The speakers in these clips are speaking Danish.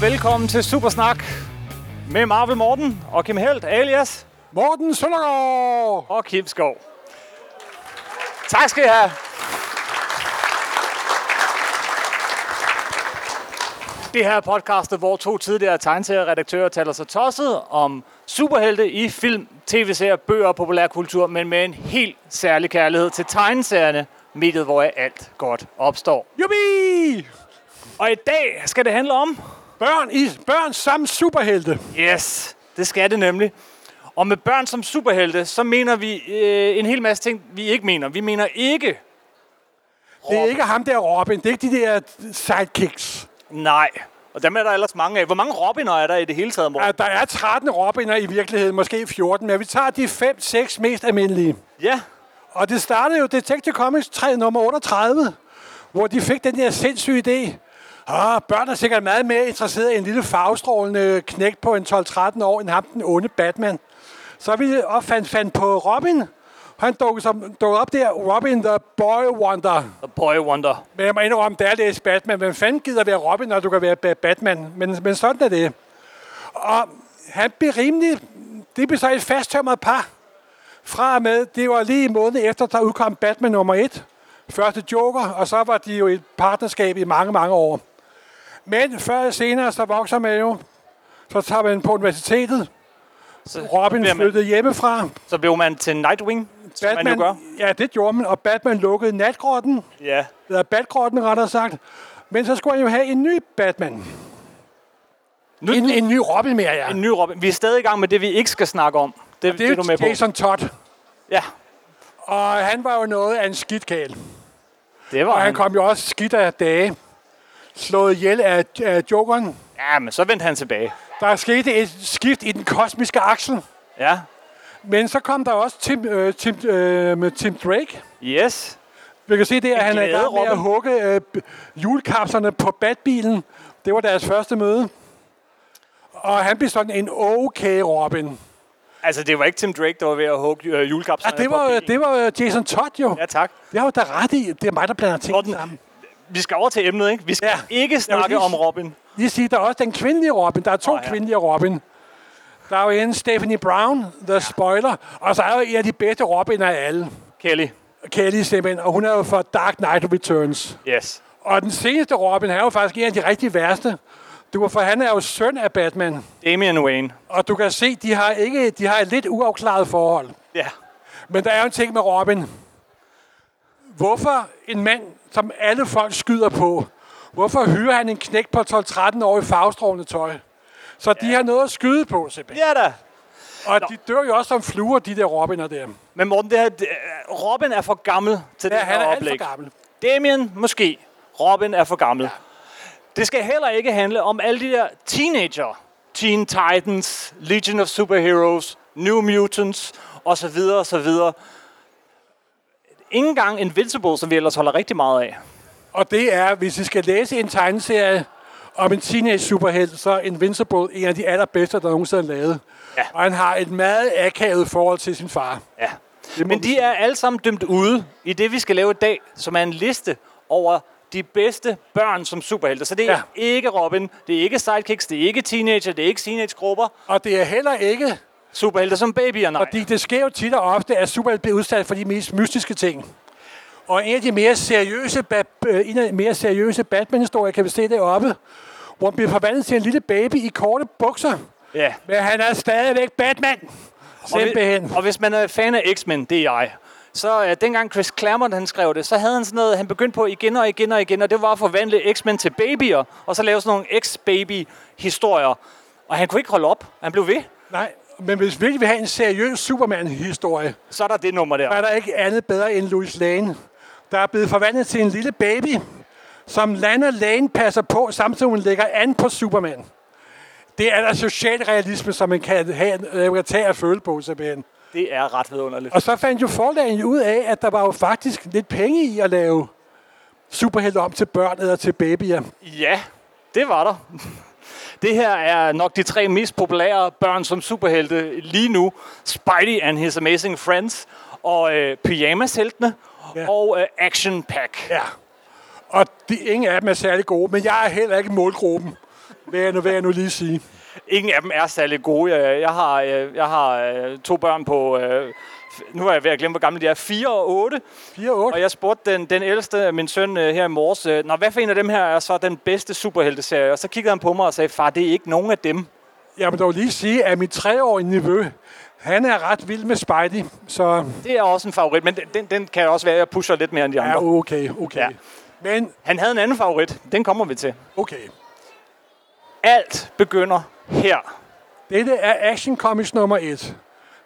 Velkommen til Supersnak med Marvel Morten og Kim Helt alias Morten Søndergaard! og Kim Skov. Tak skal I have. Det her er podcastet, hvor to tidligere tegneserieredaktører taler sig tosset om superhelte i film, tv-serier, bøger og populærkultur, men med en helt særlig kærlighed til tegneserierne, mediet hvor alt godt opstår. Jubi! Og i dag skal det handle om Børn, i, børn samt superhelte. Yes, det skal det nemlig. Og med børn som superhelte, så mener vi øh, en hel masse ting, vi ikke mener. Vi mener ikke, Det er ikke ham der Robin, det er ikke de der sidekicks. nej. Og dem er der ellers mange af. Hvor mange Robiner er der i det hele taget, Morten? Ja, der er 13 Robiner i virkeligheden, måske 14, men vi tager de 5-6 mest almindelige. Ja. Og det startede jo Detective Comics 3, nummer 38, hvor de fik den der sindssyge idé. Ah, børn er sikkert meget mere interesseret i en lille farvestrålende knægt på en 12-13 år, end ham den onde Batman. Så vi opfandt fandt på Robin. Han dukkede, som, dukkede op der, Robin the Boy Wonder. The Boy Wonder. Men jeg må indrømme, da jeg læste Batman, hvem fanden gider være Robin, når du kan være Ba- Batman? Men, men sådan er det. Og han blev rimelig... Det blev så et fasttømret par. Fra og med, det var lige i måneden efter, der udkom Batman nummer 1. Første Joker, og så var de jo i et partnerskab i mange, mange år. Men før eller senere, så vokser man jo. Så tager man på universitetet. Så Robin bliver man, flyttede hjemmefra. Så blev man til Nightwing, som man jo gør. ja, det gjorde man. Og Batman lukkede natgrotten Ja. eller Batgrotten rettere sagt. Men så skulle han jo have en ny Batman. Nu, En, en ny Robin mere, ja. en ny Robin. Vi er stadig i gang med det, vi ikke skal snakke om. Det, det, det er du med er på. jo Jason Todd. Ja, Og han var jo noget af en skidt kæl. det var Og han han. kom jo også skidt af dage. Slået ihjel af, af Jokeren. Ja, men så vendte han tilbage. Der skete et skift i den kosmiske aksel. Ja. Men så kom der også Tim, øh, Tim, øh, med Tim Drake. Yes. Vi kan se det, at han er i gang med glæde, at Robin. hugge øh, b- julekapslerne på Batbilen. Det var deres første møde. Og han blev sådan en okay Robin. Ah, Altså, det var ikke Tim Drake, der var ved at hugge øh, Ja, julekapslerne det på var, bilen. det var øh, Jason Todd jo. Ja, tak. Det har jo da ret i. Det er mig, der blander ting Morten, sammen. vi skal over til emnet, ikke? Vi skal ja. Ja. ikke snakke lige om sige- Robin. Lige sige, der er også den kvindelige Robin. Der er to Åh, oh, ja. ja. kvindelige Robin. Der er jo en Stephanie Brown, The Spoiler. Og så er jo en af de bedste Robiner af alle. Kelly. Kelly simpelthen. Og hun er jo for Dark Knight Returns. Yes. Og den seneste Robin er jo faktisk en af de rigtig værste. Du kan, for han er jo søn af Batman. Damian Wayne. Og du kan se, de har, ikke, de har et lidt uafklaret forhold. Ja. Men der er jo en ting med Robin. Hvorfor en mand, som alle folk skyder på, hvorfor hyrer han en knæk på 12-13 år i farvestrålende tøj? Så de har noget at skyde på, simpelthen. Ja da. Og de dør jo også som fluer, de der Robiner der. Men Morten, det her, det, øh, Robin er for gammel til Ja, det han her er alt oplæg. for gammel. Damien måske. Robin er for gammel. Ja. Det skal heller ikke handle om alle de der teenager. Teen Titans, Legion of Superheroes, New Mutants osv. osv. Ingen engang Invincible, som vi ellers holder rigtig meget af. Og det er, hvis I skal læse en tegneserie om en teenage superhelt, så er Invincible en af de allerbedste, der nogensinde er lavet. Ja. Og han har et meget akavet forhold til sin far. Ja. Det må Men vi de er alle sammen dømt ude i det, vi skal lave i dag, som er en liste over de bedste børn som superhelte. Så det er ja. Ja. ikke Robin, det er ikke sidekicks, det er ikke teenager, det er ikke teenagegrupper. Og det er heller ikke Superhelte som babyer, nej. Fordi det sker jo tit og ofte, at Superman bliver udsat for de mest mystiske ting. Og en af de mere seriøse, ba- øh, en af de mere seriøse Batman-historier, kan vi se deroppe, hvor han bliver forvandlet til en lille baby i korte bukser. Ja. Men han er stadigvæk Batman. Og, vi, Simpelthen. og hvis man er fan af X-Men, det er jeg, så øh, dengang Chris Claremont han skrev det, så havde han sådan noget, han begyndte på igen og igen og igen, og det var at forvandle X-Men til babyer, og så lave sådan nogle X-baby-historier. Og han kunne ikke holde op. Han blev ved. Nej, men hvis vi virkelig vil have en seriøs Superman-historie, Så er der det nummer der. er der ikke andet bedre end Louis Lane, der er blevet forvandlet til en lille baby, som Lana Lane passer på, samtidig hun lægger an på Superman. Det er der socialrealisme, som man kan, have, øh, kan tage og føle på, simpelthen. Det er ret vidunderligt. Og så fandt jo forlagen jo ud af, at der var jo faktisk lidt penge i at lave superhelte om til børn eller til babyer. Ja, det var der. Det her er nok de tre mest populære børn som superhelte lige nu. Spidey and His Amazing Friends, og øh, Pyjamasheltene, ja. Ja. og øh, Action Pack. Ja. Og de, ingen af dem er særlig gode, men jeg er heller ikke i målgruppen. Hvad jeg nu, hvad jeg nu lige sige? Ingen af dem er særlig gode. Jeg jeg har, øh, jeg har øh, to børn på... øh, f- Nu er jeg ved at glemme, hvor gamle de er. 4 og 8. 4 og 8. Og jeg spurgte den, den ældste, min søn øh, her i morges, øh, Nå, hvad for en af dem her er så den bedste superhelteserie? Og så kiggede han på mig og sagde, far, det er ikke nogen af dem. Jeg må dog lige sige, at mit treårige niveau, han er ret vild med Spidey, så Det er også en favorit, men den, den, den kan også være, at jeg pusher lidt mere end de andre. ja, uh. okay, okay. Ja. Ja. Men Han havde en anden favorit. Den kommer vi til. okay, Alt begynder her. dette er Action Comics nummer 1.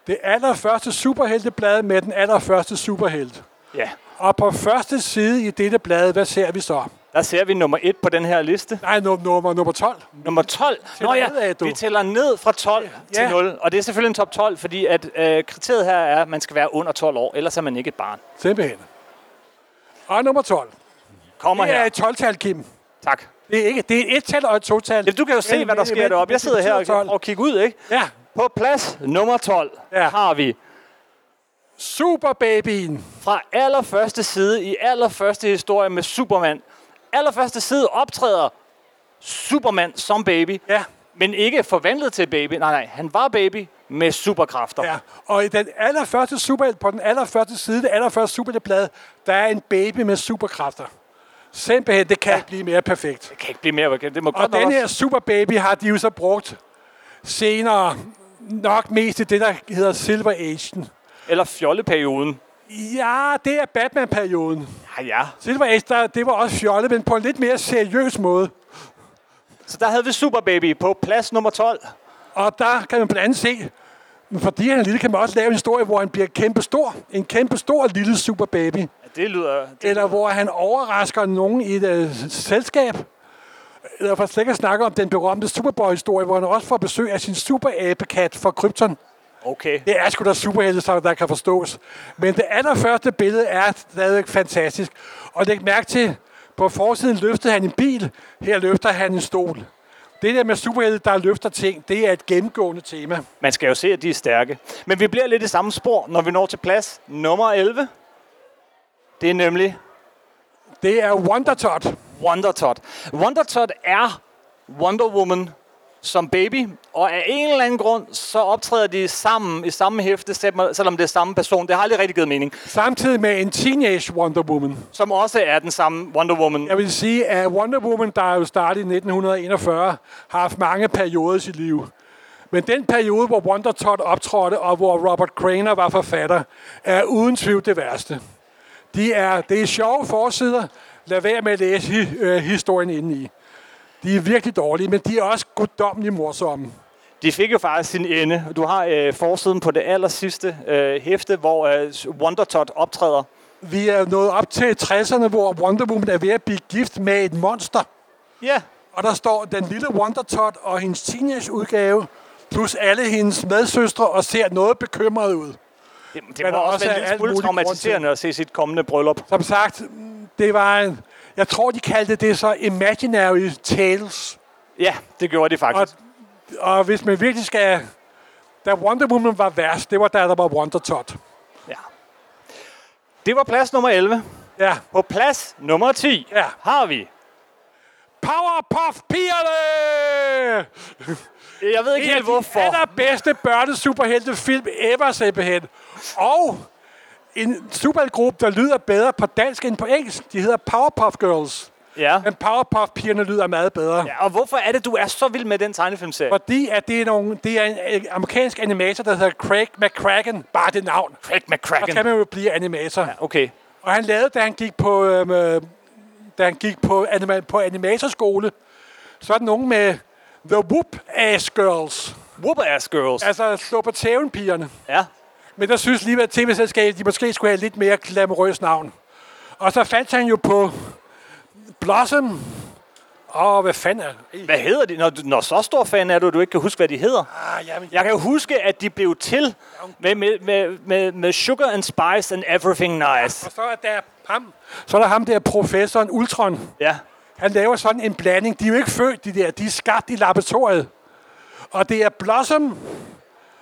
Det allerførste superhelteblad med den allerførste superhelt. Ja, Og på første side i dette blad, hvad ser vi så? der ser vi nummer 1 på den her liste. Nej, num- nummer, nummer 12. Nummer 12. Nå ja, nedad, du. vi tæller ned fra 12 ja. til Ja. 0. Og det er selvfølgelig en top 12, fordi at, øh, kriteriet her er, at man skal være under 12 år, ellers er man ikke et barn. Simpelthen. Og nummer 12. Kommer Det her. er et 12-tal, Kim. Tak. Det er, ikke, det er et et-tal og et to-tal. Ja, du kan jo se, hvad der Men- sker men- deroppe. men Jeg det sidder her og betyder 12. prøver at kigge ud, ikke? Ja, På plads nummer 12 ja. Ja. har vi superbabyen. fra allerførste side i allerførste historie med Superman. Allerførste side optræder Superman som baby, Ja, men ikke forvandlet til baby. Nej, nej, han var baby med superkræfter. ja. Og i den allerførste superhelt, på den allerførste side, det allerførste superheltblad, der er en baby med superkræfter. Simpelthen, det kan ikke blive mere perfekt. Det kan ikke blive mere, okay? det må godt Og nok den her også- superbaby har de jo så brugt senere nok mest i det, der hedder Silver Age'en. Eller fjolleperioden. Ja, det er Batman-perioden. Ja, ja. Silver Age, der, det var også fjollet, men på en lidt mere seriøs måde. Så der havde vi Superbaby på plads nummer 12. Og der kan man blandt andet se, fordi han er lille, kan man også lave en historie, hvor han bliver kæmpe stor. En kæmpe stor lille superbaby. Ja, det lyder... Det, Eller hvor han overrasker nogen i et øh, selskab. Eller for slet ikke at snakke om den berømte Superboy-historie, hvor han også får besøg af sin superabekat fra Krypton. okay. Det er sgu da superheltesanger, der kan forstås. Men det allerførste billede er stadigvæk fantastisk. Og læg mærke til, på forsiden løftede han en bil, her løfter han en stol. Det der med superhelte, der løfter ting, det er et gennemgående tema. Man skal jo se, at de er stærke. Men vi bliver lidt i samme spor, når vi når til plads nummer 11. Det er nemlig Det er Wonder Todd. Wonder Todd. Wonder Todd er Wonder Woman som baby, og af en eller anden grund, så optræder de sammen i samme hæfte, selvom det er samme person. Det har aldrig rigtig givet mening. Samtidig med en teenage Wonder Woman. Som også er den samme Wonder Woman. Jeg vil sige, at Wonder Woman, der jo startede i 1941, har haft mange perioder i sit liv. Men den periode, hvor Wonder Todd optrådte, og hvor Robert Craner var forfatter, er uden tvivl det værste. De er, det er sjove forsider. Lad være med at læse hi, øh, historien indeni. De er virkelig dårlige, men de er også guddommeligt morsomme. De fik jo faktisk sin ende. Du har øh, forsiden på det aller sidste øh, hæfte, hvor øh, Wonder Todd optræder. Vi er nået op til 60'erne, hvor Wonder Woman er ved at blive gift med et monster. Ja, Og der står den lille Wonder Todd og hendes teenageudgave, plus alle hendes medsøstre, og ser noget bekymret ud. det, det Men må der også også være er en lille alt smule muligt grund til- traumatiserende at se sit kommende bryllup. Som sagt, det var en... Jeg tror, de kaldte det så Imaginary Tales. Ja, det gjorde de Og, faktisk. og hvis man virkelig skal... Da Wonder Woman var værst, det var da der var Wonder Todd. Ja. Det var plads nummer 11. Ja. På plads nummer 10 Ja. har vi... Powerpuff-pigerne! Jeg ved ikke Det er helt hvorfor. den allerbedste børnesuperheltefilm ever, simpelthen. Og en superheltgruppe, der lyder bedre på dansk end på engelsk. De hedder Powerpuff Girls. Ja. Men Powerpuff-pigerne lyder meget bedre. Ja. ja. Og hvorfor er det, du er så vild med den tegnefilmserie? Fordi at det, er nogle, det er en øh, amerikansk animator, der hedder Craig McCracken. Bare det navn. Craig Der kan McCracken. man jo blive animator. Ja. Okay. Og han lavede, da han gik på, øhm, øh, da han gik på, anima- på animatorskole, så er der nogen med The Whoop-Ass Girls. Whoop-ass girls. Altså slå på tæven-pigerne. Ja. Men der synes lige, at tv-selskabet de måske skulle have et lidt mere glamourøst navn. Og så fandt han jo på Blossom. Åh, hvad fanden er det? Hvad hedder de? Når, du- når så stor fan er du, at du ikke kan huske, hvad de hedder. Ah, jamen, Jeg kan jo huske, at de blev til med, med, med, med, med Sugar and Spice and Everything Nice. Og så er der ham. Så er der ham der, professoren Ultron. Ja. Han laver sådan en blanding. De er jo ikke født, de der. De er skabt i laboratoriet. Og det er Blossom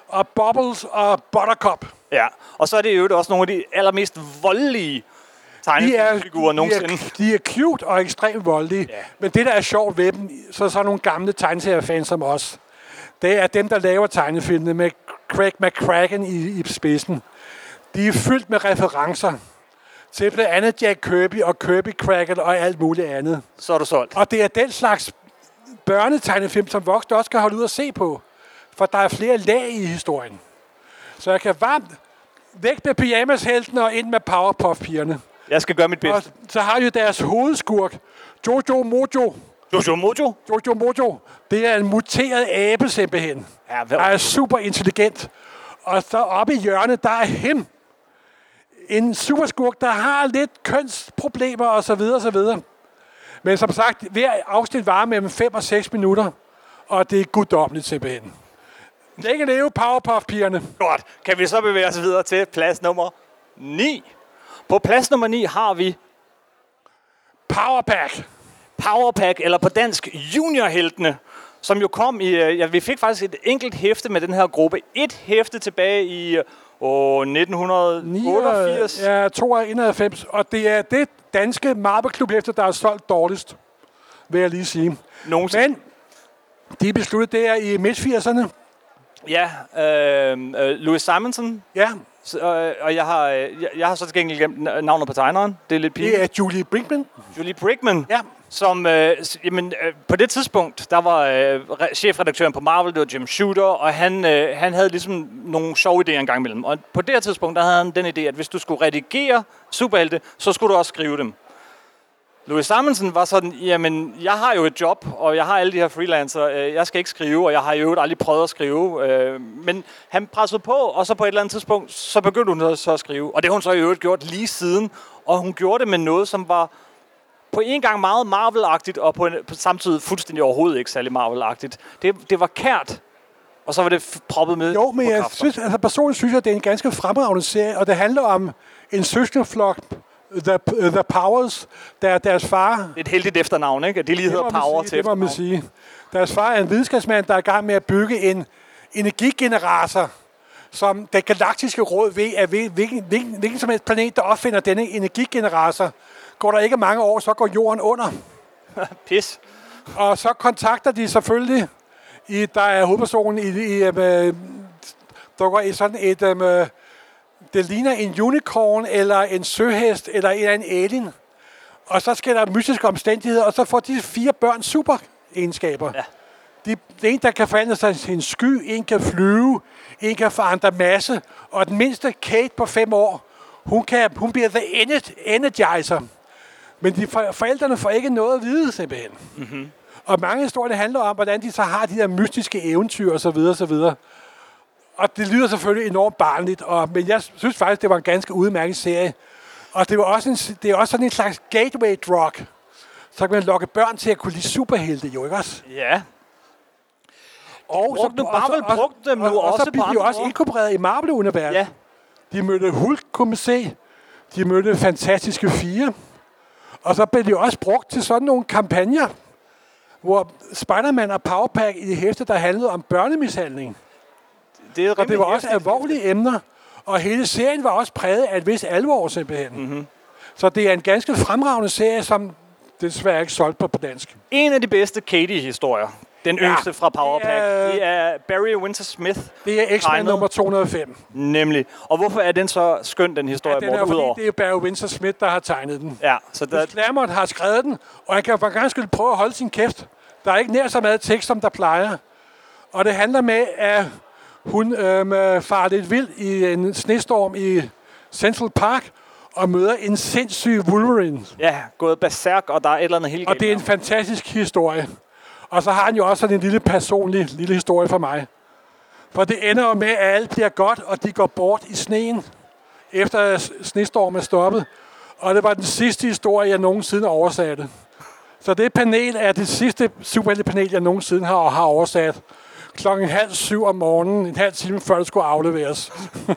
og Bubbles og Buttercup. ja. Og så er det i øvrigt også nogle af de allermest voldelige tegnefigurer nogensinde. de, er, de er cute og ekstremt voldelige. Ja. Ja. Men det, der er sjovt ved dem, så så nogle gamle tegneseriefans som os, det er dem, der laver tegnefilmene med Craig McCracken i, i spidsen. De er fyldt med referencer til blandt andet Jack Kirby og Kirby Crackle og alt muligt andet. Så er du solgt. Og det er den slags børnetegnefilm, som voksne også kan holde ud og se på. For der er flere lag i historien. Så jeg kan varmt væk med pyjamashelten og ind med Powerpuff-pigerne. Jeg skal gøre mit Og bedste. så har jo deres hovedskurk, Jojo Mojo. Jojo Mojo? Jojo Mojo, det er en muteret abe simpelthen. Ja, Der vel. er super intelligent. Og så oppe i hjørnet, der er him. En superskurk, der har lidt kønsproblemer og så videre, og så videre. Men som sagt, hver afsnit varer mellem 5 og 6 minutter, og det er guddommeligt simpelthen. Længe leve Powerpuff-pigerne. Godt. Kan vi så bevæge os videre til plads nummer 9? På plads nummer 9 har vi Powerpack. Powerpack, eller på dansk Juniorheltene, som jo kom i... øh, Ja, vi fik faktisk et enkelt hæfte med den her gruppe. Et hæfte tilbage i øh, åh, 1988. Ja, 92. Og det er det danske marbeklub efter, der er solgt dårligst, vil jeg lige sige. Nogensinde. Men de besluttede det her i midt-80'erne. Ja, øh, øh, Louis Simonson. Ja, Så, øh, og jeg har, øh, jeg, jeg har så til gengæld glemt na- navnet på tegneren. Det er lidt pinligt. det er Julie Brinkman. Julie Brickman. Ja. Som, øh, s- jamen, øh, på det tidspunkt, der var øh, re- chefredaktøren på Marvel, det var Jim Shooter, og han, øh, han havde ligesom nogle sjove idéer engang imellem. Og på det her tidspunkt, der havde han den idé, at hvis du skulle redigere superhelte, så skulle du også skrive dem. Louis Simonsen var sådan, jamen, jeg har jo et job, og jeg har alle de her freelancer, øh, jeg skal ikke skrive, og jeg har i øvrigt aldrig prøvet at skrive. Øh, men han pressede på, og så på et eller andet tidspunkt, så begyndte hun så at skrive. Og det har hun så i øvrigt gjort lige siden, og hun gjorde det med noget, som var på en gang meget Marvel-agtigt, og på, en, på samtidig fuldstændig overhovedet ikke særlig Marvel-agtigt. Det, det var kært, og så var det f- proppet med Jo, men jeg superkræfter. synes, altså personligt synes jeg, det er en ganske fremragende serie, og det handler om en søsterflok, The, the Powers, der deres far Det er et heldigt efternavn, ikke? At Det lige hedder må man Power sige, til Det må man efternavn. sige. Deres far er en videnskabsmand, der er i gang med at bygge en energigenerator, som det galaktiske råd ved, at ved- hvilken, hvilken, hvilken som helst planet, der opfinder denne energigenerator, går der ikke mange år, så går jorden under. Pis. Og så kontakter de selvfølgelig, i, der er hovedpersonen i, i øh, dukker i sådan et, øh, det ligner en unicorn, eller en søhest, eller en eller anden alien. Og så sker der mystiske omstændigheder, og så får de fire børn super egenskaber. Ja. De, det er en, der kan forandre sig til en sky, en kan flyve, en kan forandre masse, og den mindste, Kate på fem år, hun, kan, hun bliver the ener- energizer. Men de, for, forældrene får ikke noget at vide, simpelthen. Og mange historier handler om, hvordan de så har de der mystiske eventyr osv. Så videre, og så videre. Og det lyder selvfølgelig enormt barnligt, og, men jeg synes faktisk, det var en ganske udmærket serie. Og det, var også en, det er også sådan en slags gateway drug. Så kan man lokke børn til at kunne lide superhelte, jo ikke også? Ja. Og brugte Marvel og, brugte dem og, jo og, også og så blev på de jo andre også måder. inkorporeret i Marvel-universet. Ja. De mødte Hulk, kunne man se. De mødte Fantastiske Fire. Og så blev de også brugt til sådan nogle kampagner, hvor Spider-Man og Powerpack i det hæfte, der handlede om børnemishandling. Det er Og det var rimelig også hæftigt. alvorlige emner. Og hele serien var også præget af et vis alvor simpelthen. Mm-hmm. Så det er en ganske fremragende serie, som desværre ikke solgt på, på dansk. En af de bedste Katie-historier. Den Ja. yngste fra Powerpack. Det er- Det er Barry Winter Smith. Det er X-Men Tegnet. nummer 205. Nemlig. Og hvorfor er den så skøn, den historie, Ja, ja, den er, Morten? Udover. fordi det er Barry Windsor Smith, der har tegnet den. Ja, så der, Hvis Lamont har skrevet den, og han kan for ganske skyld prøve at holde sin kæft. Der er ikke nær så meget tekst, som der plejer. Og det handler med, at hun øhm, øh, farer lidt vild i en snestorm i Central Park og møder en sindssyg Wolverine. ja, gået berserk, og der er et eller andet helt Og det er en galt. fantastisk historie. Og så har han jo også sådan en lille personlig lille historie for mig. For det ender jo med, at alt bliver godt, og de går bort i sneen, efter at s- snestormen er stoppet. Og det var den sidste historie, jeg nogensinde oversatte. Så det panel er det sidste superheltepanel, jeg nogensinde har, har oversat. Klokken halv syv om morgenen, en halv time før det skulle afleveres.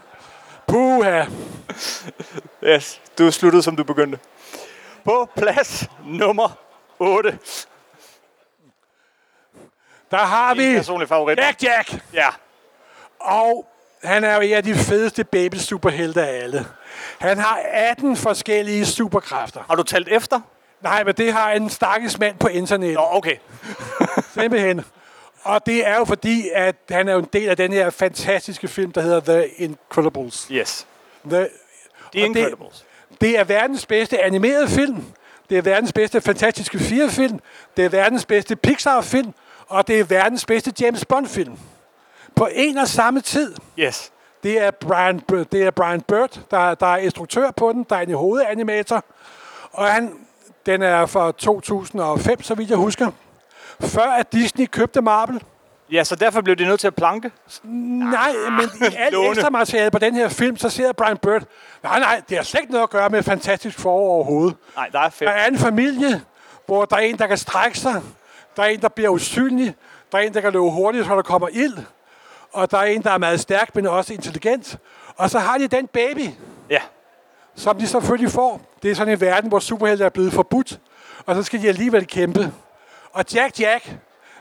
Puha! Yes, du sluttede, som du begyndte. På plads nummer 8. Der har vi Personlig favorit. Jack Jack Ja. og han er jo en af de fedeste baby-superhelte af alle. Han har 18 forskellige superkræfter. Har du talt efter? Nej, men det har en stakkels mand på internettet. Nå, okay. Simpelthen. Og det er jo fordi, at han er jo en del af den her fantastiske film, der hedder The Incredibles. Yes. The, The og det, Incredibles. det er verdens bedste animerede film. Det er verdens bedste fantastiske firefilm. Det er verdens bedste Pixar-film. Og det er verdens bedste James Bond-film. På en og samme tid. Yes. Det er Brian, det er Brian Bird, der, der er instruktør på den, der er en hovedanimator. Og han, den er fra 2005, så vidt jeg husker. Før at Disney købte Marvel. Ja, så derfor blev de nødt til at planke. Nej, men i alt Låne. ekstra materiale på den her film, så ser Brian Bird, nej, nej, det har slet ikke noget at gøre med Fantastisk Forår overhovedet. Nej, der er Der fedt. er en familie, hvor der er en, der kan strække sig. Der er en, der bliver usynlig. Der er en, der kan løbe hurtigt, så der kommer ild. Og der er en, der er meget stærk, men også intelligent. Og så har de den baby, Ja. som de selvfølgelig får. Det er sådan en verden, hvor superhelte er blevet forbudt. Og så skal de alligevel kæmpe. Og Jack Jack,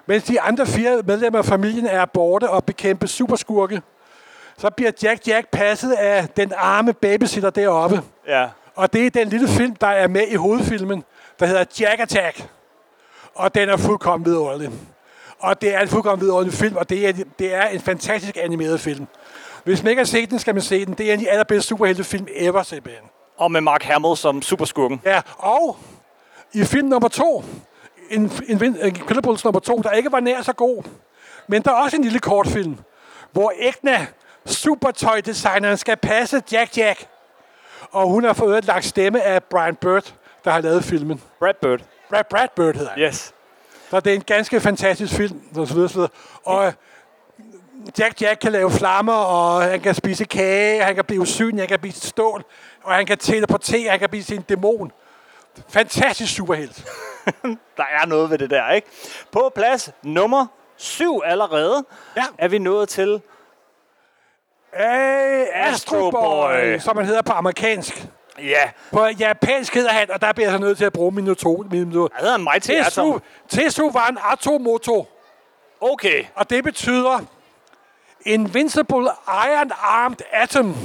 mens de andre fire medlemmer af familien er borte og bekæmpe superskurke, så bliver Jack Jack passet af den arme babysitter deroppe. Ja. Og det er den lille film, der er med i hovedfilmen, der hedder Jack Attack. Og den er fuldkommen vidunderlig. Og det er en fuldkommen vidunderlig film, og det er, det er en fantastisk animeret film. Hvis man ikke har set den, skal man se den. Det er en af de allerbedste superheltefilm ever, simpelthen. Og med Mark Hamill som superskurken. Ja, og i film nummer to, en, en, en Incredibles nummer to, der ikke var nær så god, men der er også en lille kortfilm, hvor Egna, supertøjdesigneren, skal passe Jack Jack. Og hun har fået lagt stemme af Brian Bird, der har lavet filmen. Brad Bird. Brad, Brad Bird hedder han. Yes. Så det er en ganske fantastisk film, og så videre, så videre. Og øh, Jack Jack kan lave flammer, og han kan spise kage, han kan blive usynlig, han kan blive til stål, og han kan teleportere, han kan blive til en dæmon. Fantastisk superhelt. Der er noget ved det der, ikke? På plads nummer syv allerede Ja. er vi nået til Hey, Astro Astro Boy, Boy. som han hedder på amerikansk. Ja. På japansk hedder han, og der bliver jeg så nødt til at bruge min noto. Min noto. Der hedder en Mighty Tetsu, Atom. Tetsu var en Atomoto, Okay. og det betyder Invincible Iron Armed Atom.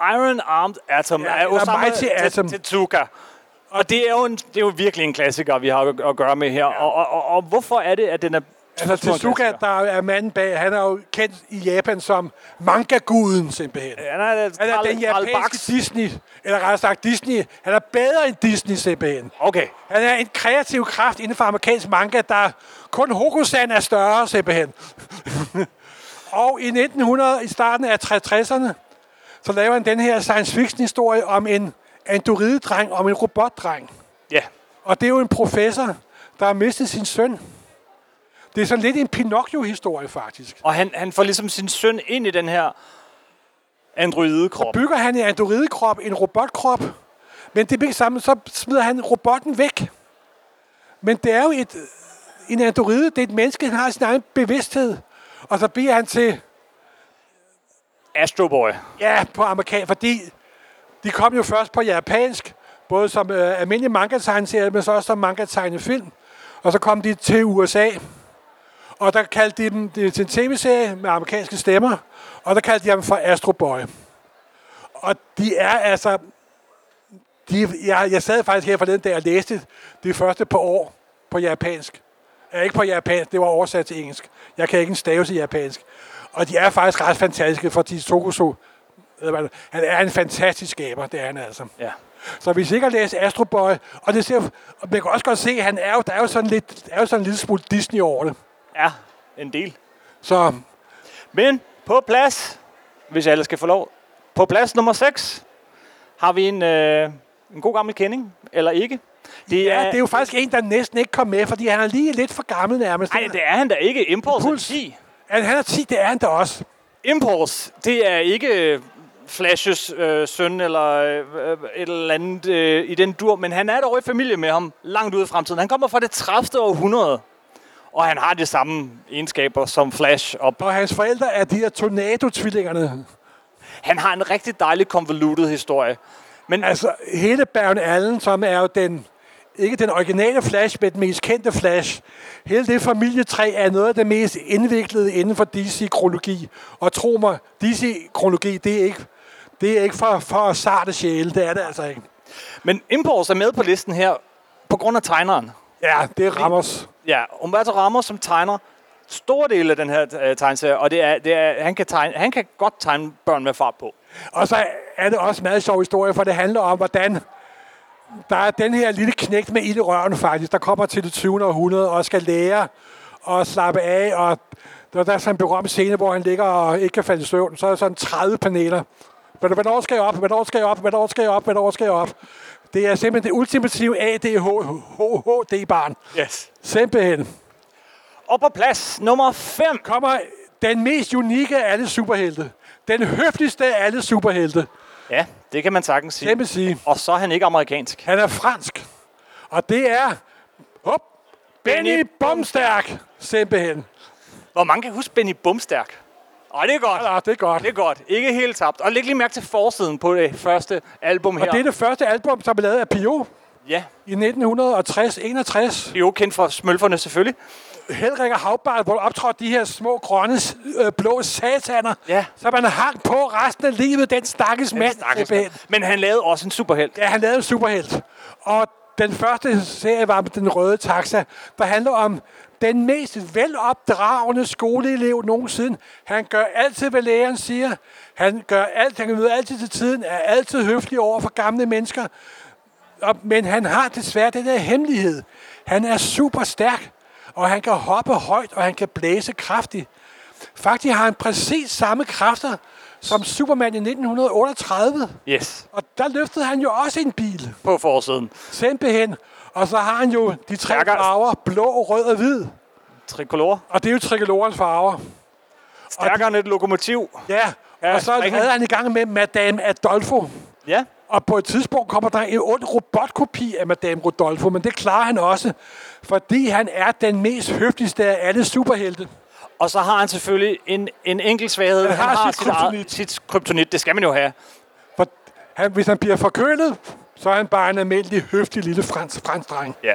Iron Armed Atom Ja, ja, af eller Osamu Mighty Te- Atom. Tezuka. Og det er, jo en, det er jo virkelig en klassiker, vi har at- at gøre med her. Og, og, og, og hvorfor er det, at den er... så Altså stor en Tezuka, klassiker? der er manden bag, han er jo kendt i Japan som manga-guden simpelthen. Han er, Han er den japanske Disney, eller rettere sagt Disney. Han er bedre end Disney simpelthen. Okay. Han er en kreativ kraft inden for amerikansk manga, der kun Hokusan er større simpelthen. og i 1900, i starten af 60'erne, så laver han den her science fiction historie om en andoridedreng, om en robotdreng. Ja. Og det er jo en professor, der har mistet sin søn. Det er sådan lidt en Pinocchio-historie, faktisk. Og han, han får ligesom sin søn ind i den her androidekrop. Bygger han en androidekrop, en robotkrop, men det er ikke sammen, så smider han robotten væk. Men det er jo et, en androide, det er et menneske, han har sin egen bevidsthed. Og så bliver han til, Astro Boy. ja, på amerikan, fordi de kom jo først på japansk, både som øh, almindelig manga-tegneserie, men så også som manga-tegnefilm. Og så kom de til USA, Og der kaldte de dem det til en tv-serie med amerikanske stemmer, og der kaldte de ham for Astro Boy. Og de er altså... De, jeg, jeg sad faktisk her forleden, da jeg læste det første par år på japansk. Ja, ikke på japansk, det var oversat til engelsk. Jeg kan ikke en stave til japansk. Og de er faktisk ret fantastiske, for Tokuso, eller hvad det- han er en fantastisk skaber, det er han altså. Ja. Så vi sikkert læse Astro Boy, og det ser, og man kan også godt se, at han er jo, der er jo sådan lidt, der er jo sådan en lille smule Disney over det. Ja, en del. Så Men på plads, hvis alle skal få lov, på plads nummer 6 har vi en, øh, en god gammel kending, eller ikke. Det Ja, det er jo faktisk en, der næsten ikke kom med, fordi han er lige lidt for gammel nærmest. Ej, det er han da ikke. Impulse Impuls. Impuls. 10. At han er 10, det er han da også. Impulse, det er ikke øh, Flashes øh, søn eller øh, øh, et eller andet øh, i den dur, men han er dog i familie med ham langt ude i fremtiden. Han kommer fra det 30. århundrede, og han har de samme egenskaber som Flash. Og Og hans forældre er de her tornado-tvillingerne. han har en rigtig dejlig convoluted historie. Men Altså, hele Baron Allen, som er jo den ikke den originale Flash, men den mest kendte Flash. Hele det familietræ er noget af det mest indviklede inden for DC-kronologi. Og tro mig, DC-kronologi, det er ikke, det er ikke for, for sarte sjæle. Det er det altså ikke. Men Impulse er med på listen her, på grund af tegneren. Ja, det er Ramos. Ja, Umberto Ramos som tegner store dele af den her øh, tegneserie, og det er, det er, han, kan tegne, han kan godt tegne børn med fart på. Og så er det også en meget sjov historie, for det handler om, hvordan der er den her lille knægt med ild i røven faktisk, der kommer til det 20. århundrede og skal lære at slappe af. Og der der er sådan en berømt scene, hvor han ligger og ikke kan falde i søvn. Så er der sådan 30 paneler. Men Hvornår skal jeg op? Hvornår skal jeg op? Hvornår skal jeg op? Hvornår skal jeg op? Det er simpelthen det ultimative ADHD-barn. Yes. Simpelthen. Og på plads nummer 5. Kommer den mest unikke af alle superhelte. Den høfligste af alle superhelte. Ja, det kan man sagtens sige. Det vil sige, Og så er han ikke amerikansk. han er fransk. Og det er... Hop, Benny Bomstærk. Simpelthen. Hvor mange kan huske Benny Bumstærk? Åh, det er godt. Ja, det er godt. Det er godt. Ikke helt tabt. Og læg lige mærke til forsiden på det første album her. Og det er det første album, som er lavet af Pio Ja, i 1960-61. det er jo kendt for smølferne selvfølgelig. Helrik og Havbart, hvor der optrådte de her små, grønne, øh, blå sataner, Ja. så man hang på resten af livet, den stakkels mand. Stakkels simpelthen. mand. Men han lavede også en superhelt. Ja, han lavede en superhelt. Og den første serie var Den Røde Taxa, der handler om den mest velopdragende skoleelev nogensinde. Han gør altid, hvad læreren siger. Han gør alt, han møder altid til tiden, er altid høflig over for gamle mennesker. Og, men han har desværre den der hemmelighed. Han er super stærk, og han kan hoppe højt, og han kan blæse kraftigt. Faktisk har han præcis samme kræfter som Superman i 1938. Yes, Og der løftede han jo også en bil, på forsiden. simpelthen. Og så har han jo de tre Stærkere. farver, blå, rød og hvid. Tricolor. Og det er jo trikolorens farver. Stærkere end et lokomotiv. Ja, Ja, og så ringen. havde han i gang med Madame Adolfo. Ja. Og på et tidspunkt kommer der en ond robotkopi af Madame Rodolfo, men det klarer han også, fordi han er den mest høfligste af alle superhelte. Og så har han selvfølgelig en, en enkelt svaghed. Han, har sit sit, eget- kryptonit. sit kryptonit. Det skal man jo have. For han, hvis han bliver forkølet, så er han bare en almindelig, høflig lille fransk, fransk dreng. Ja,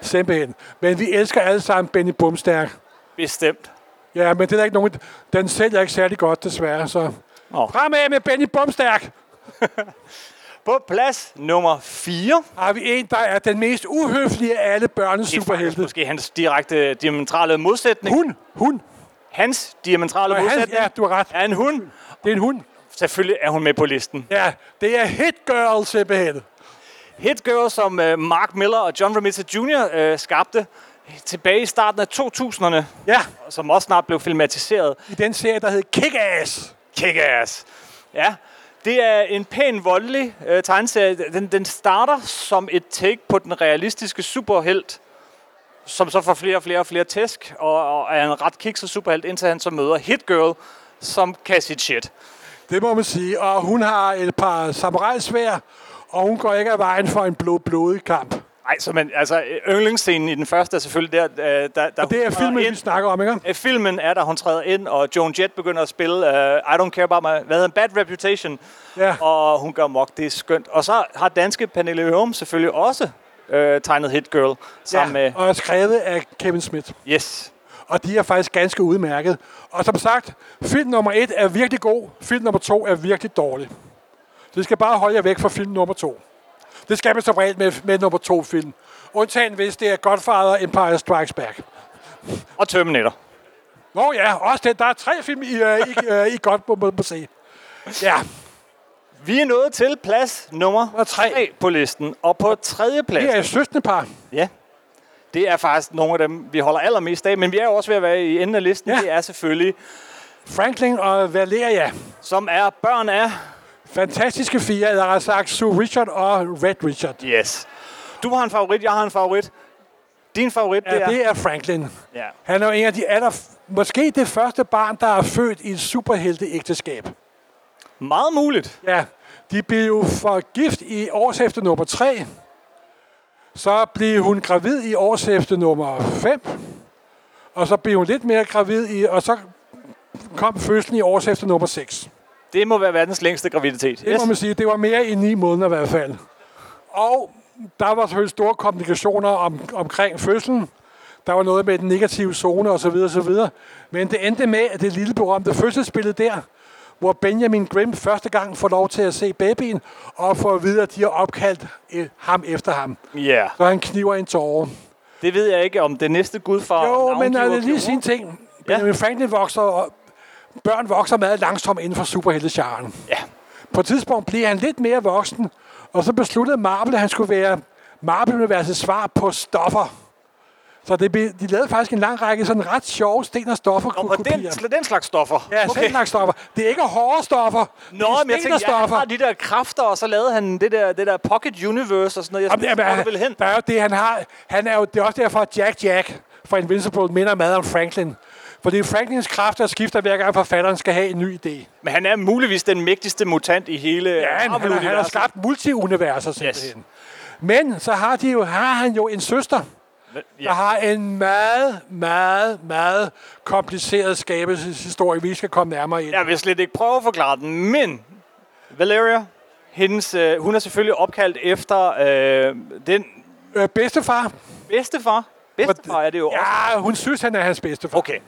Simpelthen. Men vi elsker alle sammen Benny Bumstærk. bestemt. Ja, men det er der ikke nogen... Den sælger ikke særlig godt, desværre, så... Nå. Fremad med Benny Bumstærk På plads nummer 4. har vi en, der er den mest uhøflige af alle børnes superhelte. Måske hans direkte diametrale modsætning. Hun, hun. Hans diametrale Og han, modsætning ja, du har ret. er en hund. Det er en hund. Selvfølgelig er hun med på listen. Ja, det er hit girl, simpelthen. Hit Girl, som øh, Mark Miller og John Romita Jr. Øh, skabte tilbage i starten af 2000'erne, Ja, og som også snart blev filmatiseret. i den serie, der hed Kick-Ass. Kick-ass! Ja, det er en pæn voldelig øh, tegneserie. Den, den starter som et take på den realistiske superhelt, som så får flere og flere og flere tæsk, og, og er en ret kikset superhelt, indtil han så møder Hit Girl, som kan sit shit. Det må man sige. Og hun har et par samurajsvær, og hun går ikke af vejen for en blå blodig kamp. Nej, så man, altså øh, yndlingsscenen i den første er selvfølgelig der, øh, der, der Det er hun træder filmen, vi ind. snakker om, ikke? Øh, Filmen er, da hun træder ind, og Joan Jett begynder at spille uh, I Don't Care About My... Hvad hedder den? Bad Reputation. Ja. Og hun gør mok, det er skønt. Og så har danske Pernille Hørum selvfølgelig også øh, tegnet Hit Girl sammen ja. med... Og er skrevet af Kevin Smith. Yes. og de er faktisk ganske udmærket. Og som sagt, film nummer et er virkelig god, film nummer to er virkelig dårlig. Så I skal bare holde jer væk fra film nummer to. Det skal man som regel med, med nummer to film. Undtagen hvis det er Godfather Empire Strikes Back. Og Terminator. Nå ja, også det. Der er tre film, I, øh, I, øh, I godt må, må, må se. Ja, Vi er nået til plads nummer tre. 3 på listen. Og på tredje plads... det er søstende par. Ja. Det er faktisk nogle af dem, vi holder allermest af. Men vi er jo også ved at være i enden af listen. Ja. Det er selvfølgelig... Franklin og Valeria. Som er børn af... Fantastiske fire, jeg har sagt Sue Richard og Red Richard. Yes. Du har en favorit, jeg har en favorit. Din favorit, Ja, det er Franklin. Ja. Han er jo en af de aller... Måske det første barn, der er født i et superhelteægteskab. Meget muligt. Ja. De blev jo forgift i årshæfte nummer 3. Så blev hun gravid i årshæfte nummer 5. Og så blev hun lidt mere gravid i... Og så kom fødslen i årshæfte nummer 6. Det må være verdens længste graviditet. Det yes. må man sige, det var mere i 9 måneder i hvert fald. Og der var selvfølgelig store komplikationer om, omkring fødslen. Der var noget med den negative zone osv. osv. Men det endte med, at det lille berømte fødselsbillede der, hvor Benjamin Grimm første gang får lov til at se babyen, og får at vide, at de har opkaldt eh, ham efter ham. Ja, Så han kniver en tårer. det ved jeg ikke, om det næste gudfar... Jo, men navngiver er det lige gjorde. sin ting. Benjamin Franklin vokser, og børn vokser meget langsomt inden for superheltesjaren. Ja, På et tidspunkt blev han lidt mere voksen, og så besluttede Marvel, at han skulle være Marvel-universets svar på stoffer. Så det blev, de lavede faktisk en lang række sådan ret sjove sten- og stoffer og på den, sl- den slags stoffer. Ja, okay. den slags stoffer. Det er ikke hårde stoffer. det Nå, er men jeg sten- og tænkte, ja, han stoffer. har de der kræfter, og så lavede han det der, det der pocket universe og sådan noget. Jeg Jamen, tænkte, jamen, hvor er han, det vel hen? der er jo det, han har. Han er jo, det er også derfor, at Jack Jack fra Invincible minder meget om Franklin. Fordi Franklins kræfter skifter hver gang forfatteren skal have en ny idé. Men han er muligvis den mægtigste mutant i hele Ja, han, han, har- han har Marvel-universet. skabt multiuniverser simpelthen. Yes. Men så har, de jo, har han jo en søster, der Ja, har en meget, meget, meget kompliceret skabelseshistorie, vi skal komme nærmere ind. jeg vil slet ikke prøve at forklare den, men Valeria, hendes, øh, hun er selvfølgelig opkaldt efter øh, den Øh, bedstefar? bedstefar. Bedstefar er det jo også. Ja, hun synes, han er hans bedstefar. Okay.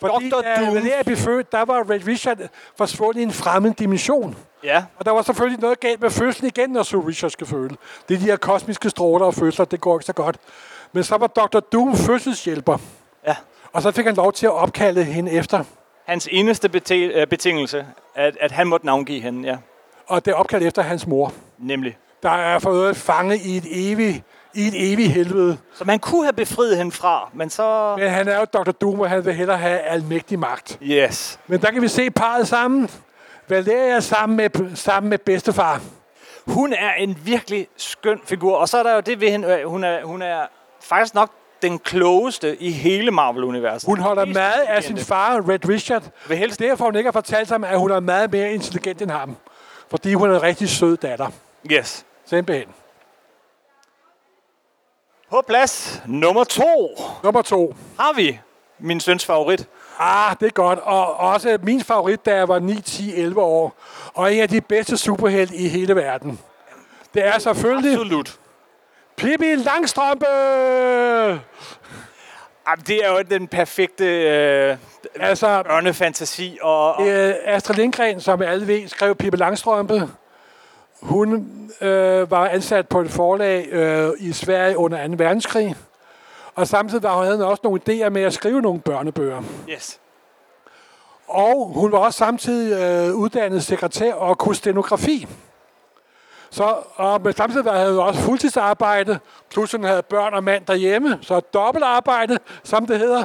Fordi Dr. da Doom. Valeria blev født, der var Red Richard forsvundet i en fremmed dimension. Ja, Og der var selvfølgelig noget galt med fødslen igen, når Sue Richard skal føde. Det er de her kosmiske stråler og fødsler, det går ikke så godt. Men så var Dr. Doom fødselshjælper, ja. og så fik han lov til at opkalde hende efter. Hans eneste bete- øh, betingelse, at, at han måtte navngive hende, ja. Og det er opkaldt efter hans mor, Nemlig. der er for øvrigt fanget i et evigt, i et evigt helvede. Så man kunne have befriet hende fra, men så... Men han er jo Dr. Doom, og han vil hellere have almægtig magt. Yes. Men der kan vi se parret sammen. Valeria sammen med, sammen med bedstefar. Hun er en virkelig skøn figur, og så er der jo det ved hende, øh, hun er, hun er faktisk nok den klogeste i hele Marvel-universet. Hun holder Mest meget af sin intelligente. far, Red Richard. Vil helst- Derfor hun ikke har fortalt ham, at hun er meget mere intelligent end ham. Fordi hun er en rigtig sød datter. Yes. Simpelthen. På plads nummer to Nummer to. har vi min søns favorit. Ah, det er godt. Og også min favorit, da jeg var 9, 10, 11 år. Og en af de bedste superhelte i hele verden. Det er selvfølgelig Absolut. Pippi Langstrømpe! Jamen, Ah, det er jo den perfekte øh, Altså, børnefantasi, og, og Øh, Astrid Lindgren, som alle ved, skrev Pippi Langstrømpe. Hun øh, var ansat på et forlag øh, i Sverige under 2. verdenskrig. Og samtidig var hun havde hun også nogle idéer med at skrive nogle børnebøger. yes. Og hun var også samtidig øh, uddannet sekretær og kunne stenografi. Så, og men samtidig var- havde hun også fuldtidsarbejde, plus hun havde børn og mand derhjemme, så dobbeltarbejde, som det hedder.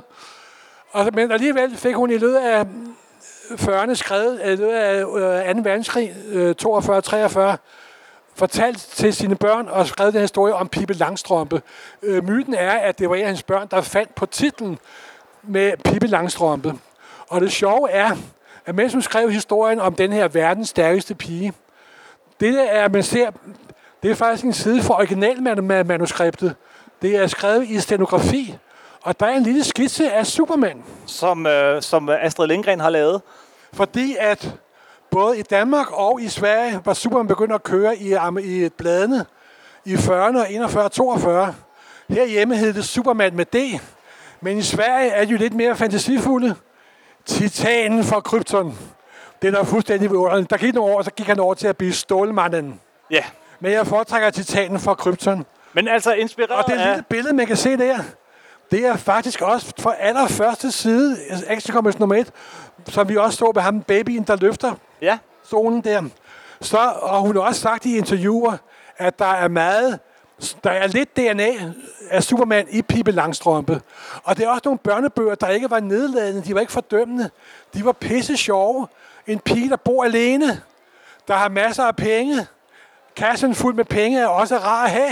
Og, men alligevel fik hun i løbet af 40'erne skrevet, i løbet af øh, 2. verdenskrig, øh, 42-43, fortalt til sine børn og skrevet den her historie om Pippi Langstrømpe. Øh, myten er, at det var en af hendes børn, der fandt på titlen med Pippi Langstrømpe. Og det sjove er, at mens hun skrev historien om den her verdens stærkeste pige, det der er, man ser, det er faktisk en side fra originalmanuskriptet. Det er skrevet i stenografi, og der er en lille skitse af Superman. Som, øh, som Astrid Lindgren har lavet. Fordi at både i Danmark og i Sverige var Superman begyndt at køre i, am- i bladene i 40'erne og 41 42. Herhjemme hed det Superman med D, men i Sverige er de jo lidt mere fantasifulde. Titanen fra Krypton. Det er der fuldstændig vidunderligt. Der gik nogle år, så gik han over til at blive Stålmanden. Ja. Men jeg foretrækker Titanen fra Krypton. Men Men altså inspireret og det af... lille billede, man kan se der, det er faktisk også fra allerførste side, Action Comics nummer 1, som vi også så med ham, babyen, der løfter Ja. zonen der. Så, og hun har også sagt i interviewer, at der er meget, der er lidt DNA af Superman i Pippi Langstrømpe. Og det er også nogle børnebøger, der ikke var nedladende, de var ikke fordømmende. De var pisse sjove. En pige, der bor alene, der har masser af penge. Kassen fuld med penge er også rar at have,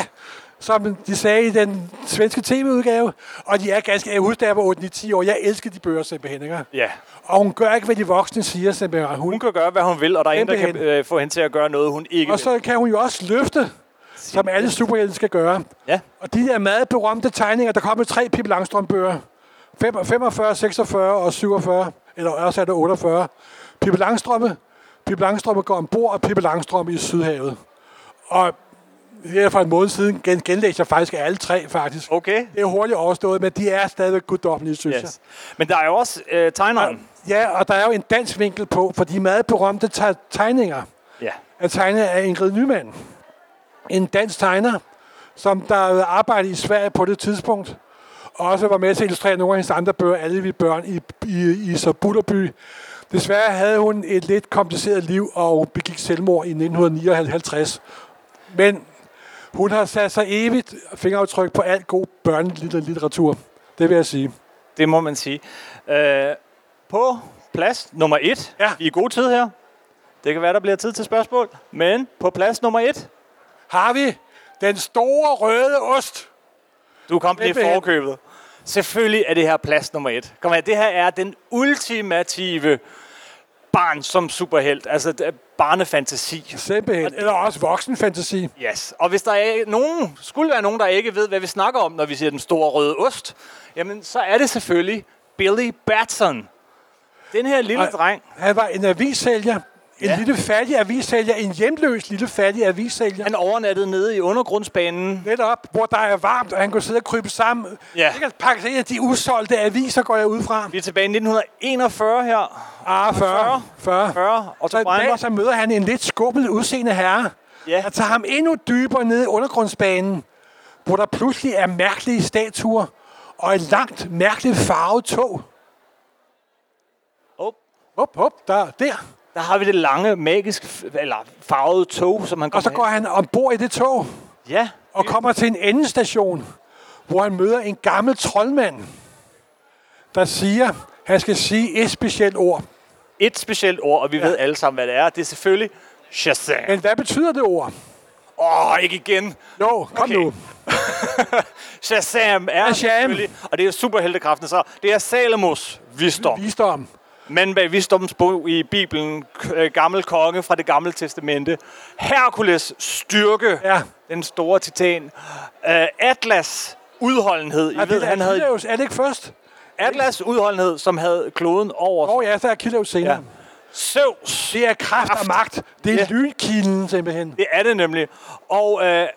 som de sagde i den svenske tv-udgave. Og de er ganske, jeg husker, da jeg var 8-10 år, jeg elskede de bøger simpelthen. Ikke? Ja. Og hun gør ikke, hvad de voksne siger simpelthen. Hun Hun kan gøre, hvad hun vil, og der er ingen, der kan Simpelthen. øh, få hende til at gøre noget, hun ikke Og så kan hun jo også løfte, som alle superhelte skal gøre. vil. Ja. Og de der meget berømte tegninger, der kom i tre Pippi Langstrømpe-bøger. Fem- 45, 46 og 47, eller også er det 48. Pippi Langstrømpe, Pippi Langstrømpe går ombord, og Pippi Langstrømpe i Sydhavet. Og her for en måned siden gen, genlæste jeg faktisk alle tre, faktisk. Okay. Det er hurtigt overstået, men de er stadigvæk guddommelige, synes yes. jeg. Yes. Men der er jo også øh, tegneren. Ja, og der er jo en dansk vinkel på, for de meget berømte te- tegninger Ja. er tegnet af Ingrid Nyman. En dansk tegner, som der arbejdede i Sverige på det tidspunkt, og også var med til at illustrere nogle af hendes andre bøger, alle vi børn i, i, i Sabutterby. Desværre havde hun et lidt kompliceret liv og begik selvmord i 1959. Men hun har sat sig evigt fingeraftryk på alt god børnelitteratur. Det vil jeg sige. Det må man sige. Øh, på plads nummer et. Ja. Vi er i god tid her. Det kan være, der bliver tid til spørgsmål. Men på plads nummer et. Har vi den store røde ost? Du kom lige Simpelthen. forkøbet. Selvfølgelig er det her plads nummer et. Kom her, det her er den ultimative barn som superhelt. Altså det er barnefantasi. Simpelthen. Eller også voksenfantasi. Yes. Og hvis der er nogen, skulle være nogen, der ikke ved, hvad vi snakker om, når vi siger den store røde ost, jamen så er det selvfølgelig Billy Batson. Den her lille Ej. dreng. Han var en avissælger. Ja. En ja. lille fattig avissælger. En hjemløs lille fattig avissælger. Han overnattede nede i undergrundsbanen. Lidt op, hvor der er varmt, og han kunne sidde og krybe sammen. Ja. Det kan pakke sig ind af de usolgte aviser, går jeg ud fra. Vi er tilbage i 1941 her. Ah, 40. 40. 40. Og Så så en dag så møder han en lidt skummel udseende herre, Ja. ja. der tager ham endnu dybere ned i undergrundsbanen, hvor der pludselig er mærkelige statuer og et langt, mærkeligt farvet tog. Op. Hop, hop, der, der. Der har vi det lange, magisk, f- eller farvede tog, som han kommer Og så går han ombord i det tog hen. Ja, og kommer til en endestation, hvor han møder en gammel troldmand, der siger, han skal sige et specielt ord. et specielt ord, og vi ja. ved alle sammen, hvad det er. Det er selvfølgelig Shazam. Men hvad betyder det ord? Åh, oh, ikke igen. Jo, kom Okay. okay. nu. Shazam er Shazam. selvfølgelig, og det er superheltekraften så. Det er Salomos visdom. Visdom. Manden bag visdommens bog i Bibelen, k- øh, gammel konge fra det gamle testamente. Herkules styrke, Ja. den store titan. Uh, Atlas udholdenhed. I Er ved, det, han havde Achilleus, er det ikke først? Atlas udholdenhed, som havde kloden over. Åh oh, ja, så er Achilleus senere. Ja. Ja. Zeus, Det er kraft og Kraft. magt. Det er Ja. ja. lynkilen simpelthen. det er det nemlig. Og øh,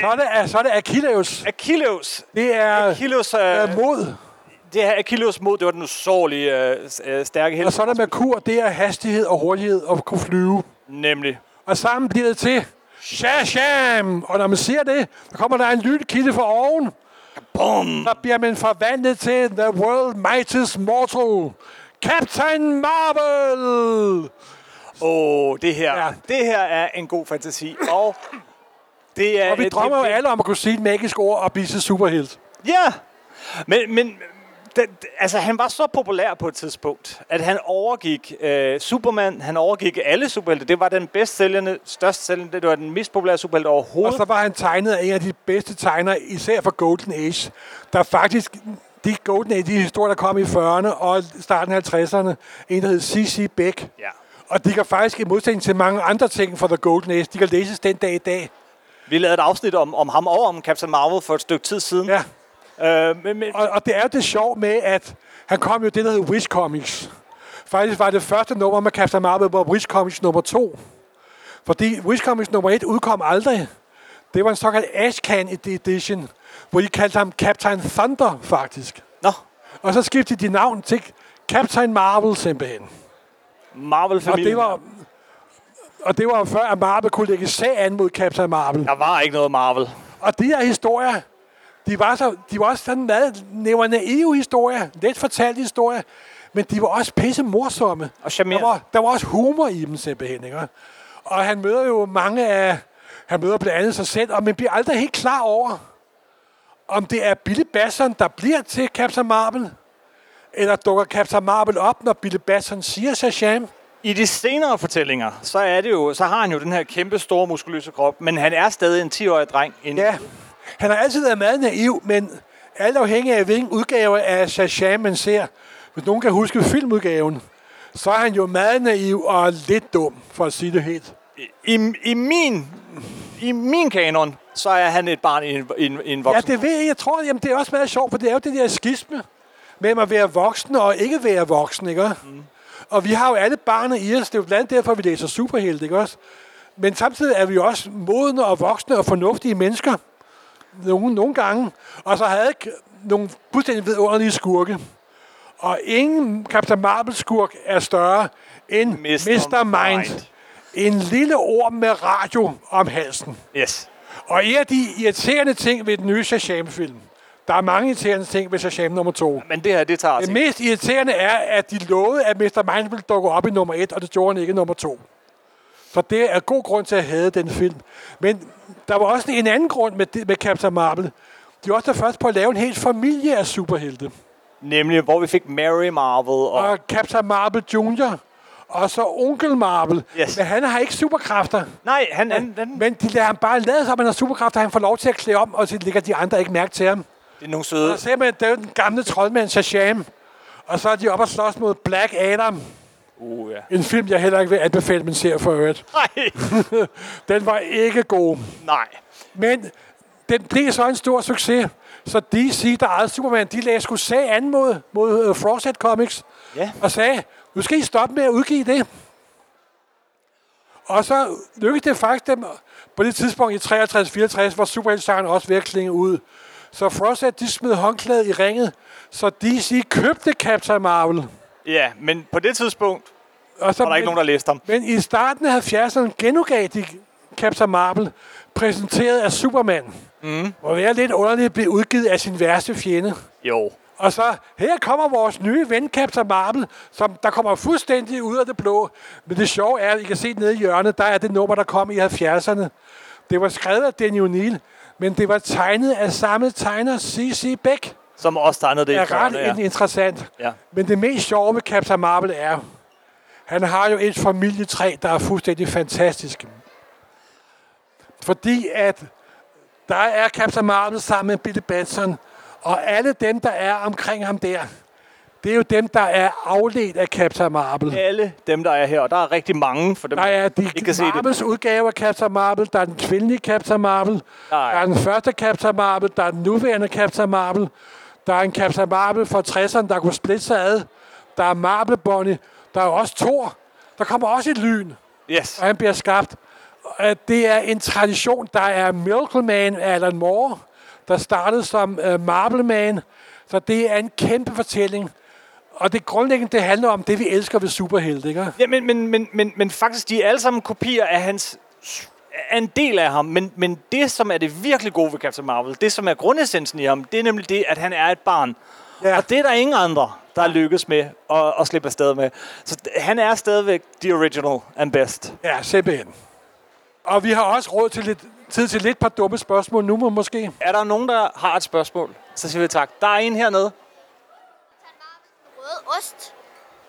Så er det, er- så er det Achilleus. Achilles, Det er Achilles, øh, øh, mod. det her Achilles mod, det var den usårlige øh, s- øh, stærke Og helt, så er det Merkur. Det er hastighed og hurtighed og kunne flyve. nemlig. Og sammen bliver det til Shasham. Og når man siger det, så kommer der en lynkilde fra oven. Boom! Der bliver man forvandlet til The World Mightiest Mortal. Captain Marvel! Åh, oh, det her, ja. Ja. det her er en god fantasi, og det er... Og vi et- drømmer jo det- alle om at kunne sige et magisk ord og blive til superhelt. Ja, men, men den, altså, han var så populær på et tidspunkt, at han overgik øh, Superman, han overgik alle superhelte. Det var den bedst sælgende, størst sælgende, det var den mest populære superhelte Og overhovedet. så var han tegnet af en af de bedste tegnere, især for Golden Age, der faktisk, de Golden Age, de historier, der kom i 40'erne og starten af 50'erne, en, der hed C.C. Beck. Ja. Og de kan faktisk, i modsætning til mange andre ting fra The Golden Age, de kan læses den dag i dag. Vi lavede et afsnit om, om ham over om Captain Marvel for et stykke tid siden. Ja. Øh, men, men, Og, og det er jo det sjov med, at han kom jo i det, der hed Wish Comics. Faktisk var det første nummer med Captain Marvel, var Wish Comics nummer 2. Fordi Wish Comics nummer 1 udkom aldrig. Det var en såkaldt Ashcan Edition, hvor de kaldte ham Captain Thunder, faktisk. nå, Og så skiftede de navn til Captain Marvel simpelthen. Og Marvel-familien. det var... Og det var jo før, at Marvel kunne lægge sag an mod Captain Marvel. Der var ikke noget Marvel. Og de her historier, de var, så, de var også sådan meget nævner naive historier, let fortalt historier, men de var også pisse morsomme. Og charmerende. Der var, der var også humor i dem simpelthen, ikke? Og han møder jo mange af... Han møder blandt andet sig selv, og man bliver aldrig helt klar over, om det er Billy Basson, der bliver til Captain Marvel, eller dukker Captain Marvel op, når Billy Basson siger Shazam. I de senere fortællinger, så, er det jo, så har han jo den her kæmpe store muskuløse krop, men han er stadig en 10-årig dreng. En, Ja, han har altid været meget naiv, men alt afhængig af hvilken udgave af Shazam man ser, hvis nogen kan huske filmudgaven, så er han jo meget naiv og lidt dum, for at sige det helt. I, i, min, I min kanon, så er han et barn i en, i en, i en Ja, voksen. det ved jeg. Jeg tror, jamen, det er også meget sjovt, for det er jo det der skisme mellem at være voksen og ikke være voksen, ikke? Mm. Og vi har jo alle barnet i os. Det er jo blandt andet derfor, vi læser superhelte, ikke også? Men samtidig er vi jo også modne og voksne og fornuftige mennesker. Nogle, nogle gange. Og så havde jeg nogle fuldstændig vidunderlige skurke. Og ingen Captain Marvel-skurk er større end Mr. Mr. Mind. Mind. En lille orm med radio om halsen. Yes. Og en af de irriterende ting ved den nye Shazam-film, der er mange irriterende ting ved Shazam nummer 2. Men det her, det tager os Det ikke. mest irriterende er, at de lovede, at Mr. Mind ville dukke op i nummer 1, og det gjorde han ikke i nummer 2. Så det er god grund til at have den film. Men der var også en anden grund med, det- med Captain Marvel. De var også der først på at lave en hel familie af superhelte. Nemlig, hvor vi fik Mary Marvel og... Og Captain Marvel Jr. Og så onkel Marvel. Yes. Men han har ikke superkræfter. Nej, han, han, han, Men de lader ham bare lade sig, at han har superkræfter. Han får lov til at klæde om, og så lægger de andre ikke mærke til ham. det er nogle søde... Og så ser man, det er jo den gamle troldmand Shazam. Og så er de oppe og slås mod Black Adam. Uh, ja. En film, jeg heller ikke vil anbefale, men ser for øvrigt. Nej, Den var ikke god. nej. Men den blev så en stor succes. Så DC, der ejede Superman, de lagde sgu sag an mod, mod uh, Frosted Comics. Ja. Og sagde, nu skal I stoppe med at udgive det. Og så lykkedes det faktisk dem på det tidspunkt i 63-64, hvor superheltesangeren også ved at klinge ud. Så Frosted, de smed håndklædet i ringet, så DC købte Captain Marvel. Ja, men på det tidspunkt Og så var der ikke nogen, der læste ham. men i starten af 70'erne genudgav de Captain Marvel, præsenteret af Superman. Mm. Og det er lidt underligt at blive udgivet af sin værste fjende. Jo. Og så, her kommer vores nye ven, Captain Marvel, som der kommer fuldstændig ud af det blå. Men det sjove er, at I kan se nede i hjørnet, der er det nummer, der kom i 70'erne. Det var skrevet af Danny O'Neill, men det var tegnet af samme tegner, C.C. Beck. Som også tegnede det i Det er ret tårne, ja. interessant. Ja. Men det mest sjove med Captain Marvel er, han har jo et familietræ, der er fuldstændig fantastisk. Fordi at der er Captain Marvel sammen med Billy Batson, og alle dem, der er omkring ham der, det er jo dem, der er afledt af Captain Marvel. Ja. Alle dem, der er her, og der er rigtig mange for dem. Der er de Ikke kan se det. Marvels udgave af Captain Marvel, der er den kvindelige Captain Marvel, Nej. der er den første Captain Marvel, der er den nuværende Captain Marvel, der er en Captain Marvel fra 60'erne, der kunne splitte sig ad, der er Marvel Bunny, der er også Thor, der kommer også et lyn, Yes. og han bliver skabt. Og Det er en tradition, der er Miracle Man af Alan Moore, der startede som øh, Marvel Man, så det er en kæmpe fortælling. Og det grundlæggende, det handler om det, vi elsker ved superhelte, ikke? Ja, men, men, men, men, men faktisk, de er alle sammen kopier af hans er en del af ham, men, men det, som er det virkelig gode ved Captain Marvel, det, som er grundessensen i ham, det er nemlig det, at han er et barn. Ja. Ja. Og det er der ingen andre, der er lykkes med at, at slippe afsted med. Så d- han er stadigvæk the original and best. Ja, simpelthen. Og vi har også råd til lidt, tid til lidt par dumme spørgsmål nu må- måske. Er der nogen, der har et spørgsmål? Så siger vi tak. Der er en hernede. Rød ost.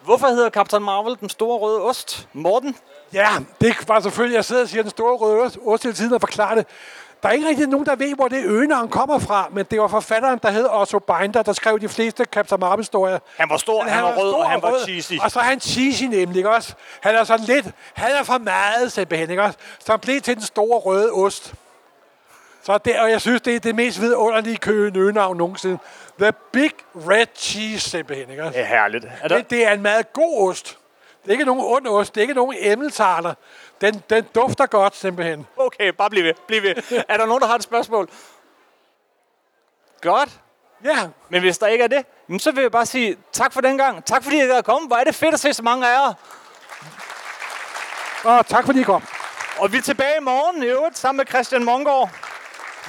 Hvorfor hedder Captain Marvel den store røde ost? Morten? Ja, det var selvfølgelig, jeg sidder og siger den store røde ost- ost hele tiden og forklarer det. Der er ikke rigtig nogen, der ved, hvor det øgenavn kommer fra, men det var forfatteren, der hed Otto Binder, der skrev de fleste Captain Marvel-historier. Han var stor, han, var rød, stor og han var rød, cheesy. Og så er han cheesy nemlig, ikke også? Han er sådan lidt, han er for meget simpelthen, ikke også? Så han blev til den store røde ost. Så det, og jeg synes, det er det mest vidunderlige køenøgenavn nogensinde. The Big Red Cheese simpelthen, ikke også? Det er herligt. Er der, Det, det er en meget god ost. Det er ikke nogen ond ost. Det er ikke nogen emmeltarter. Den, den dufter godt, simpelthen. okay, bare bliv ved. Bliv ved. er der nogen, der har et spørgsmål? Godt. Ja, Men hvis der ikke er det, jamen, så vil jeg bare sige tak for den gang. Tak fordi I er kommet. Hvor er det fedt at se så mange af jer. og tak fordi I kom. Og vi er tilbage i morgen i øvrigt sammen med Christian Mongård.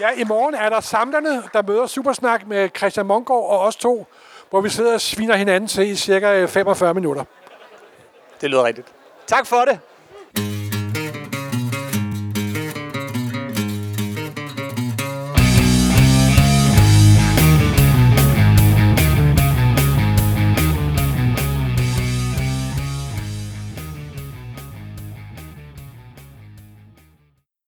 Ja, i morgen er der samlerne, der møder Supersnak med Christian Mongård og os to, hvor vi sidder og sviner hinanden til i cirka øh, 45 minutter. Det lyder rigtigt. Tak for det.